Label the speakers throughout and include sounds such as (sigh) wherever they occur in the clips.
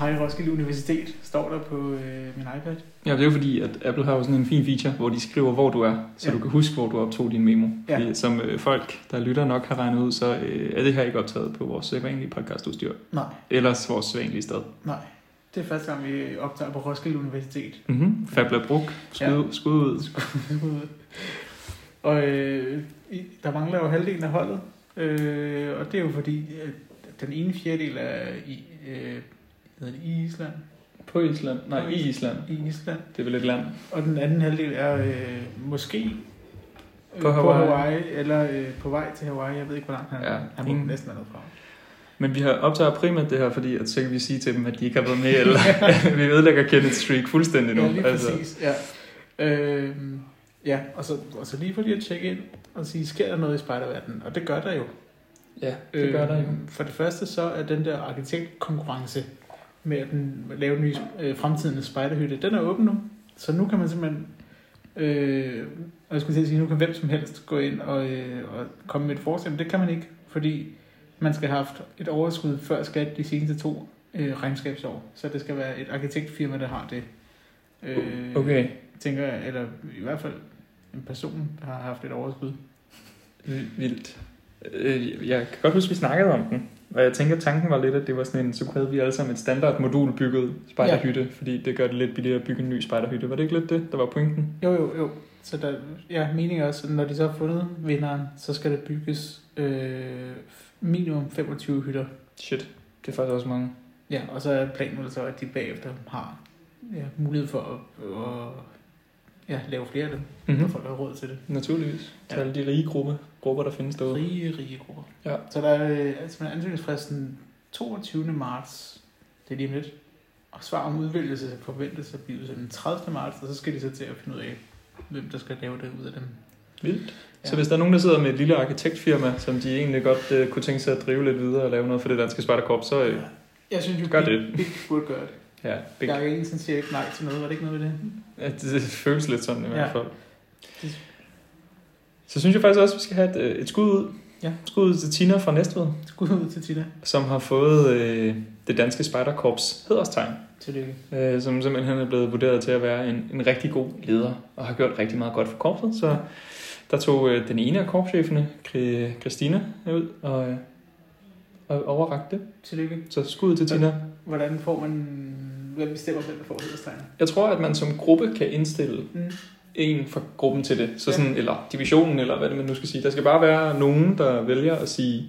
Speaker 1: Roskilde Universitet, står der på øh, min iPad.
Speaker 2: Ja, det er jo fordi, at Apple har jo sådan en fin feature, hvor de skriver, hvor du er, så
Speaker 1: Ja.
Speaker 2: du kan huske, hvor du optog din memo.
Speaker 1: Ja.
Speaker 2: Fordi Som øh, folk, der lytter nok har regnet ud, så øh, er det her ikke optaget på vores sædvanlige podcastudstyr.
Speaker 1: Nej,
Speaker 2: Ellers vores sædvanlige sted.
Speaker 1: nej. Det er første gang, vi optager på Roskilde
Speaker 2: (laughs)
Speaker 1: Universitet.
Speaker 2: Mm-hmm. Fabla Brug, skud, ja. skud ud.
Speaker 1: og øh, i- der mangler jo halvdelen af holdet. Øh, og det er jo fordi, at den ene fjerdedel er i, øh, hvad hedder det, i Island.
Speaker 2: På Island? Nej, i Island.
Speaker 1: I Island.
Speaker 2: Det er vel et land.
Speaker 1: Og den anden halvdel er øh, måske øh,
Speaker 2: På
Speaker 1: på
Speaker 2: Hawaii.
Speaker 1: Hawaii, eller øh, på vej til Hawaii. Jeg ved ikke, hvor langt han
Speaker 2: Ja,
Speaker 1: er. Han må
Speaker 2: ingen-
Speaker 1: næsten have noget fra.
Speaker 2: Men vi har optaget primært det her, fordi at så kan vi sige til dem, at de ikke har været med, eller
Speaker 1: (laughs)
Speaker 2: (laughs) vi ødelægger Kenneth Streak fuldstændig nu. altså.
Speaker 1: Ja, lige præcis. Ja. Øhm, ja, og så, og så lige for lige at tjekke ind og sige, sker der noget i spejderverdenen? Og det gør der jo.
Speaker 2: ja det gør der jo.
Speaker 1: Øhm, For det første så er den der arkitektkonkurrence med at den, lave den nye øh, fremtidens spejderhytte, den er åben nu. Så nu kan man simpelthen, øh, og jeg skulle til at sige, nu kan hvem som helst gå ind og, øh, og komme med et forslag, men det kan man ikke, fordi man skal have haft et overskud før skat de seneste to øh, regnskabsår. Så det skal være et arkitektfirma, der har det. Øh,
Speaker 2: Okay,
Speaker 1: Tænker jeg, eller i hvert fald en person, der har haft et overskud.
Speaker 2: vildt. Øh, Jeg kan godt huske, vi snakkede om den. Og jeg tænker, at tanken var lidt, at det var sådan en, så havde vi alle sammen et standardmodul bygget spejderhytte, ja. fordi det gør det lidt billigere at bygge en ny spejderhytte. Var det ikke lidt det, der var pointen?
Speaker 1: Jo, jo, jo. Så der, ja, meningen er også, at når de så har fundet vinderen, så skal der bygges øh, minimum 25 hytter.
Speaker 2: Shit, det er faktisk også mange.
Speaker 1: Ja, og så er planen vel så, at de bagefter har ja, mulighed for at, at ja, lave flere af dem, mm-hmm. når
Speaker 2: Mm-hmm.
Speaker 1: folk har råd til det.
Speaker 2: Naturligvis. Til
Speaker 1: Ja.
Speaker 2: alle de rige gruppe, grupper, der findes derude.
Speaker 1: Rige, rige grupper.
Speaker 2: Ja.
Speaker 1: Så der er øh, altså, ansøgningsfristen 22. marts, det er lige om lidt. Og svar om udvælgelse forventes at blive udsendt den 30. marts, og så skal de så til at finde ud af, hvem der skal lave det ud af dem.
Speaker 2: Vildt. Ja. Så
Speaker 1: Ja.
Speaker 2: hvis der er nogen, der sidder med et lille arkitektfirma, som de egentlig godt øh, kunne tænke sig at drive lidt videre og lave noget for det danske Spartakorps, så øh,
Speaker 1: Jeg synes jo,
Speaker 2: Gør
Speaker 1: Big,
Speaker 2: det.
Speaker 1: Big burde gøre det.
Speaker 2: ja, big,
Speaker 1: Big. Bjarke Engelsen siger ikke nej til noget. Var det ikke noget ved det?
Speaker 2: ja, det, det føles lidt sådan i
Speaker 1: Ja.
Speaker 2: hvert fald.
Speaker 1: Det-
Speaker 2: Så synes jeg faktisk også, at vi skal have et, øh, et skud ud.
Speaker 1: Ja.
Speaker 2: Skud ud til Tina fra Næstved,
Speaker 1: Skud ud til Tina.
Speaker 2: som har fået øh, det danske Spartakorps hederstegn,
Speaker 1: Tillykke.
Speaker 2: øh, som simpelthen er blevet vurderet til at være en, en rigtig god leder og har gjort rigtig meget godt for korpset. Så der tog øh, den ene af korpscheferne, Kri- Christina, ud og, øh, og overrakte det.
Speaker 1: Tillykke.
Speaker 2: Så skud til Tina.
Speaker 1: Hvordan får man... Hvem bestemmer, hvem der får hederstegnet?
Speaker 2: Jeg tror, at man som gruppe kan indstille
Speaker 1: Mm.
Speaker 2: en fra gruppen til det. Så
Speaker 1: Ja.
Speaker 2: sådan, eller divisionen, eller hvad det man nu skal sige. Der skal bare være nogen, der vælger at sige,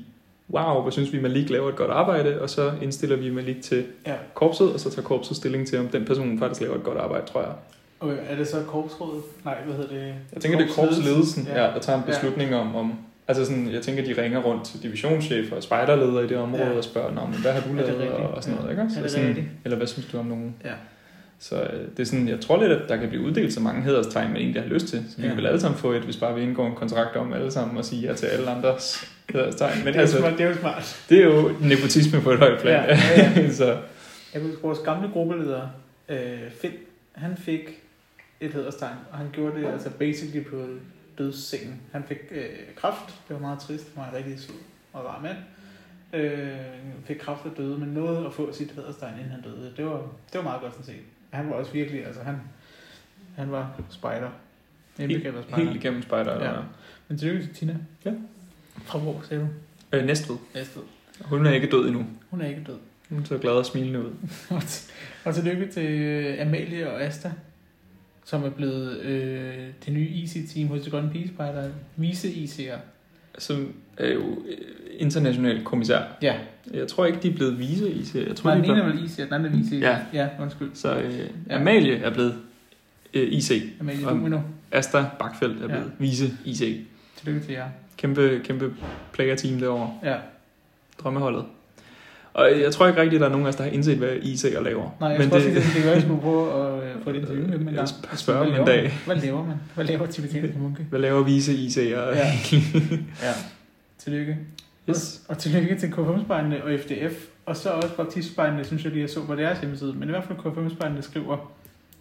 Speaker 2: wow, hvor synes vi, Malik laver et godt arbejde, og så indstiller vi Malik til
Speaker 1: Ja.
Speaker 2: korpset, og så tager korpset stilling til, om den person faktisk laver et godt arbejde, tror jeg.
Speaker 1: Okay, er det så korpsrådet? Nej, hvad hedder det?
Speaker 2: Jeg tænker, det er korpsledelsen, ja. der tager en
Speaker 1: Ja.
Speaker 2: beslutning om, om Altså sådan, jeg tænker, de ringer rundt til divisionschefer og spejderledere i det område
Speaker 1: Ja.
Speaker 2: og spørger, "Nå, men hvad har du
Speaker 1: Er det
Speaker 2: lavet
Speaker 1: rigtigt?
Speaker 2: og, og sådan
Speaker 1: Ja.
Speaker 2: noget, ikke?
Speaker 1: Er det
Speaker 2: sådan,
Speaker 1: rigtigt?
Speaker 2: eller hvad synes du om nogen?
Speaker 1: Ja.
Speaker 2: Så øh, det er sådan, jeg tror lidt, at der kan blive uddelt så mange hederstegn, man egentlig har lyst til. Så vi
Speaker 1: Ja.
Speaker 2: kan vel alle sammen få et, hvis bare vi indgår en kontrakt om alle sammen og sige ja til alle andres hederstegn. Men
Speaker 1: Men
Speaker 2: det
Speaker 1: det, er
Speaker 2: (laughs)
Speaker 1: altså,
Speaker 2: altså,
Speaker 1: smart, det er jo smart.
Speaker 2: det er jo nepotisme på et højt plan.
Speaker 1: Ja, ja, ja.
Speaker 2: (laughs) så,
Speaker 1: Jeg kan huske, vores gamle gruppeleder, øh, Finn, han fik et hederstegn, og han gjorde det altså basically på dødssengen. Han fik øh, kraft, det var meget trist, han var en rigtig sød og rar mand. Øh, fik kraft og døde, men nåede at få sit hederstegn, inden han døde. Det var, det var meget godt sådan set. Han var også virkelig, altså han, han var spejder. Indbegrebet af
Speaker 2: helt,
Speaker 1: spejder.
Speaker 2: helt igennem spejder.
Speaker 1: Ja.
Speaker 2: Ja.
Speaker 1: Men tillykke til Tina.
Speaker 2: Ja.
Speaker 1: Fra hvor, sagde du?
Speaker 2: Øh, Næstved.
Speaker 1: Næstved.
Speaker 2: Hun er ikke død endnu.
Speaker 1: Hun er ikke død.
Speaker 2: Hun ser glad og smilende ud.
Speaker 1: (laughs) Og til- og tillykke til øh, Amalie og Asta, som er blevet øh, det nye IC-team hos de Grønne Pigespejder. Vise IC'er.
Speaker 2: Som er jo øh, international kommissær.
Speaker 1: Ja.
Speaker 2: Jeg tror ikke, de er blevet vise i serien. Jeg tror,
Speaker 1: Nej,
Speaker 2: de
Speaker 1: den
Speaker 2: er
Speaker 1: ene
Speaker 2: blevet...
Speaker 1: er vel IC'er, den anden er VC'er.
Speaker 2: Ja.
Speaker 1: ja undskyld.
Speaker 2: Så øh,
Speaker 1: Ja.
Speaker 2: Amalie er blevet øh, IC.
Speaker 1: Amalie
Speaker 2: Om-
Speaker 1: Lumino.
Speaker 2: Asta Bakfeldt er
Speaker 1: Ja.
Speaker 2: blevet vise IC.
Speaker 1: Tillykke til jer.
Speaker 2: Kæmpe, kæmpe player-team derovre.
Speaker 1: Ja.
Speaker 2: Drømmeholdet. Og øh, jeg tror ikke rigtigt, der er nogen af os, der har indset, hvad IC'er laver.
Speaker 1: Nej, jeg men tror det... også, det kan være, at jeg skulle prøve at øh, få et interview med
Speaker 2: (laughs)
Speaker 1: dem en
Speaker 2: Jeg
Speaker 1: gang.
Speaker 2: sp- spørger
Speaker 1: Hvad
Speaker 2: dem en
Speaker 1: laver
Speaker 2: dag.
Speaker 1: man? Hvad laver man? Hvad laver tibetanske munke?
Speaker 2: Hvad laver vise IC'er?
Speaker 1: Ja. ja. Tillykke.
Speaker 2: (laughs) Yes.
Speaker 1: Og tillykke til KFM-spejlene og FDF. Og så også baptistspejlene, synes jeg lige, jeg så på deres hjemmeside. Men i hvert fald KFM-spejlene skriver,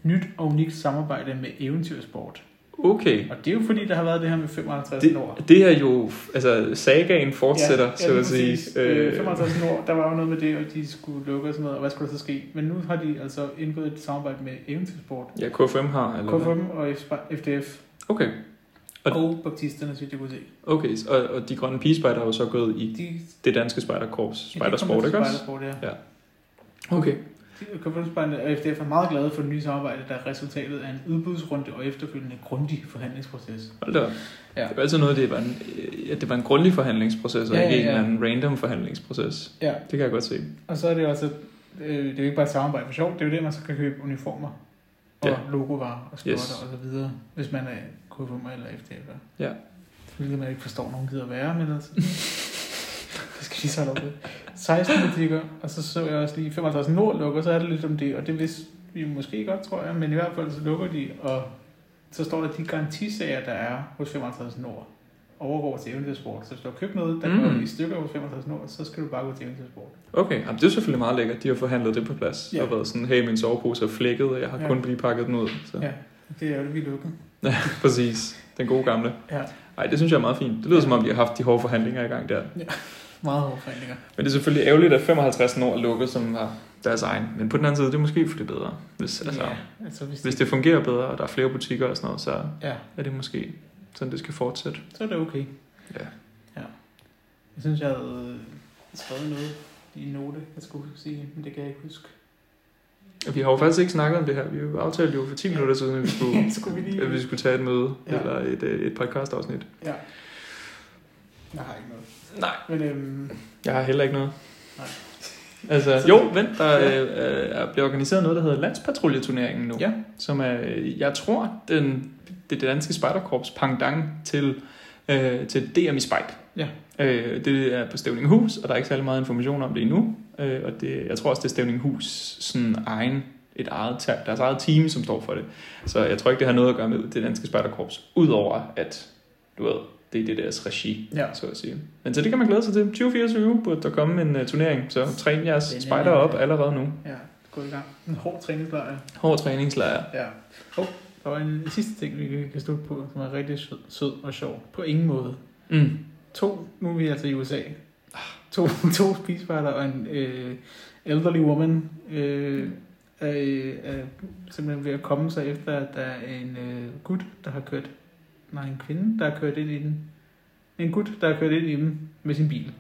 Speaker 1: nyt og unikt samarbejde med eventyrsport.
Speaker 2: Okay.
Speaker 1: Og det er jo fordi, der har været det her med 55
Speaker 2: Det,
Speaker 1: nord.
Speaker 2: det er jo, altså sagaen fortsætter, ja, så
Speaker 1: lige
Speaker 2: at sige.
Speaker 1: præcis. Øh, 55 nord, der var jo noget med det, og de skulle lukke og sådan noget, og hvad skulle der så ske? Men nu har de altså indgået et samarbejde med Eventyrsport,
Speaker 2: ja, KFM har, eller hvad?
Speaker 1: KFM og F- FDF,
Speaker 2: Okay, Og-
Speaker 1: og, og baptisterne, synes jeg kunne se.
Speaker 2: okay. så- Og, og de grønne pigespejder har jo så gået i
Speaker 1: De,
Speaker 2: det danske spejderkorps,
Speaker 1: ja,
Speaker 2: spejdersport,
Speaker 1: de
Speaker 2: ikke
Speaker 1: kom med til
Speaker 2: også?
Speaker 1: Spejdersport, ja.
Speaker 2: Okay.
Speaker 1: De- KFM-spejderne og FDF er meget glade for det nye samarbejde, der er resultatet af en udbudsrunde og efterfølgende grundig forhandlingsproces.
Speaker 2: Hold da op.
Speaker 1: Ja.
Speaker 2: Det var altid noget, det var en, øh, at det var en grundig forhandlingsproces, og
Speaker 1: Ja,
Speaker 2: ja,
Speaker 1: ja,
Speaker 2: ikke en
Speaker 1: ja.
Speaker 2: eller anden random forhandlingsproces.
Speaker 1: Ja.
Speaker 2: Det kan jeg godt se.
Speaker 1: Og så er det jo altså, øh, det er jo ikke bare et samarbejde for sjov, det er jo det, man så kan købe uniformer og
Speaker 2: Ja.
Speaker 1: ja. logovarer og skjorter
Speaker 2: Yes.
Speaker 1: yes. og så videre, hvis man er KFM eller FDF'er.
Speaker 2: Ja.
Speaker 1: Hvilket man ikke forstår, nogen gider være, men altså, (laughs) det skal de så holde op med. 16 butikker, og så så jeg også lige 55 Nord lukker, så er det lidt om det, og det vidste vi måske godt, tror jeg, men i hvert fald så lukker de, og så står der de garantisager, der er hos 55 Nord overgår til eventyrsport. Så hvis du har købt noget, der
Speaker 2: Mm.
Speaker 1: mm. går i stykker hos 55 Nord, så skal du bare gå til eventyrsport.
Speaker 2: Okay, Jamen, det er selvfølgelig meget lækkert. De har forhandlet det på plads.
Speaker 1: Ja.
Speaker 2: Og været sådan, hey, min sovepose er flækket, og jeg har
Speaker 1: Ja.
Speaker 2: kun lige pakket den ud. Så.
Speaker 1: Ja. Det er jo det, vi lukker.
Speaker 2: Præcis. Den gode gamle.
Speaker 1: Ja.
Speaker 2: Ej, det synes jeg er meget fint. Det lyder
Speaker 1: Ja.
Speaker 2: som om, de har haft de hårde forhandlinger i gang der.
Speaker 1: Meget hårde forhandlinger.
Speaker 2: Men det er selvfølgelig ærgerligt, at 55 år er lukket, som var deres egen. Men på den anden side, det er måske for det bedre. Hvis, altså, ja.
Speaker 1: altså hvis,
Speaker 2: hvis det fungerer bedre, og der er flere butikker og sådan noget, så
Speaker 1: Ja,
Speaker 2: er det måske sådan, det skal fortsætte.
Speaker 1: så er det okay.
Speaker 2: Ja.
Speaker 1: ja. Jeg synes, jeg havde øh, skrevet noget i en note, jeg skulle sige, men det kan jeg ikke huske.
Speaker 2: Og Vi har jo faktisk ikke snakket om det her. Vi har jo aftalt jo for 10
Speaker 1: Ja.
Speaker 2: minutter siden, at vi
Speaker 1: (laughs)
Speaker 2: skulle,
Speaker 1: skulle vi lige...
Speaker 2: at vi skulle tage et møde ja.
Speaker 1: Ja.
Speaker 2: eller et, øh, et podcast-afsnit.
Speaker 1: Ja. Jeg har ikke noget.
Speaker 2: Nej.
Speaker 1: Men øhm,
Speaker 2: Jeg har heller ikke noget.
Speaker 1: Nej.
Speaker 2: Altså,
Speaker 1: Så-
Speaker 2: jo, vent, der øh, øh, bliver organiseret noget, der hedder Landspatruljeturneringen nu.
Speaker 1: Ja.
Speaker 2: Som er, øh, jeg tror, den, det, det danske spejderkorps pangdang til, øh, til DM i spejt.
Speaker 1: Ja.
Speaker 2: Øh, det er på Stævninghus, og der er ikke særlig meget information om det endnu. Øh, og det, jeg tror også, det er Stævninghus sådan egen, et eget, ta- deres eget team, som står for det. Så jeg tror ikke, det har noget at gøre med det danske spejderkorps, udover at, du ved, det er det deres regi
Speaker 1: ja.
Speaker 2: så at sige. Men så det kan man glæde sig til. 2024 burde der komme en uh, turnering, så træn jeres
Speaker 1: Den er-
Speaker 2: spejder op allerede nu.
Speaker 1: ja, gå i gang. En hård træningslejr.
Speaker 2: Hård træningslejr.
Speaker 1: Ja. Oh, der var en sidste ting, vi kan slutte på, som er rigtig sød, sød og sjov. På ingen måde.
Speaker 2: Mm.
Speaker 1: To, nu er vi altså i USA. To, (laughs) to spisbrætter og en øh, elderly woman øh, er, øh, er simpelthen ved at komme sig efter, at der er en øh, gut, der har kørt, nej en kvinde, der har kørt ind i den. En gut, der har kørt ind i dem med sin bil.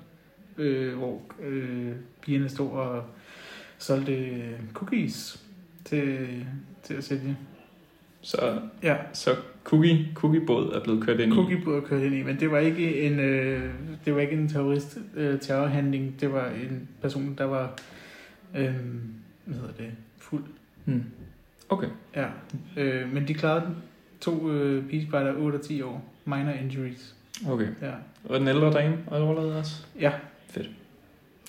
Speaker 1: Øh, hvor øh, pigerne stod og solgte cookies til, til at sælge.
Speaker 2: Så,
Speaker 1: Ja,
Speaker 2: så cookie, cookiebåd er blevet kørt ind i.
Speaker 1: Cookiebåd kørte ind i, men det var ikke en, øh, det var ikke en terrorist øh, terrorhandling. Det var en person, der var øh, hvad hedder det, fuld.
Speaker 2: Mm. Okay.
Speaker 1: Ja. Øh, men de klarede den. To øh, pigespejder, 8 og 10 år. Minor injuries.
Speaker 2: okay.
Speaker 1: Ja.
Speaker 2: Og den ældre dame overlevede også.
Speaker 1: Ja.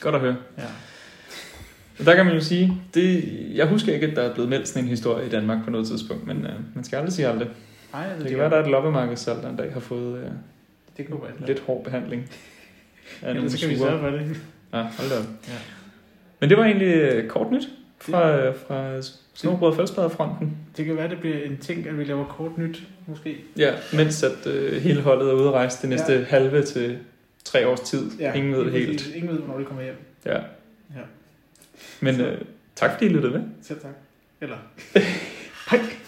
Speaker 2: Godt at høre.
Speaker 1: ja.
Speaker 2: Og der kan man jo sige, det, jeg husker ikke, at der er blevet meldt sådan en historie i Danmark på noget tidspunkt, men uh, man skal aldrig sige aldrig.
Speaker 1: Ej, altså,
Speaker 2: Det kan være, der er et loppemarkedssalg, der en dag har fået uh,
Speaker 1: Det kunne være
Speaker 2: lidt hård behandling. af
Speaker 1: Ja,
Speaker 2: nogle
Speaker 1: så kan vi
Speaker 2: sure
Speaker 1: sørge for det.
Speaker 2: Ja, hold da op.
Speaker 1: Ja.
Speaker 2: Men det var egentlig øh, kort nyt fra, øh, fra Snobrød og Fældsbaderfronten.
Speaker 1: Det kan være, det bliver en ting, at vi laver kort nyt, måske.
Speaker 2: Ja, mens at øh, hele holdet er ude at rejse det næste ja. halve til tre års tid. Ja, Ingen ved det
Speaker 1: lige
Speaker 2: helt.
Speaker 1: præcis. Ingen ved, hvornår det kommer hjem.
Speaker 2: Ja.
Speaker 1: Ja.
Speaker 2: Men øh, tak fordi I lyttede med.
Speaker 1: Selv tak. Eller... Hej!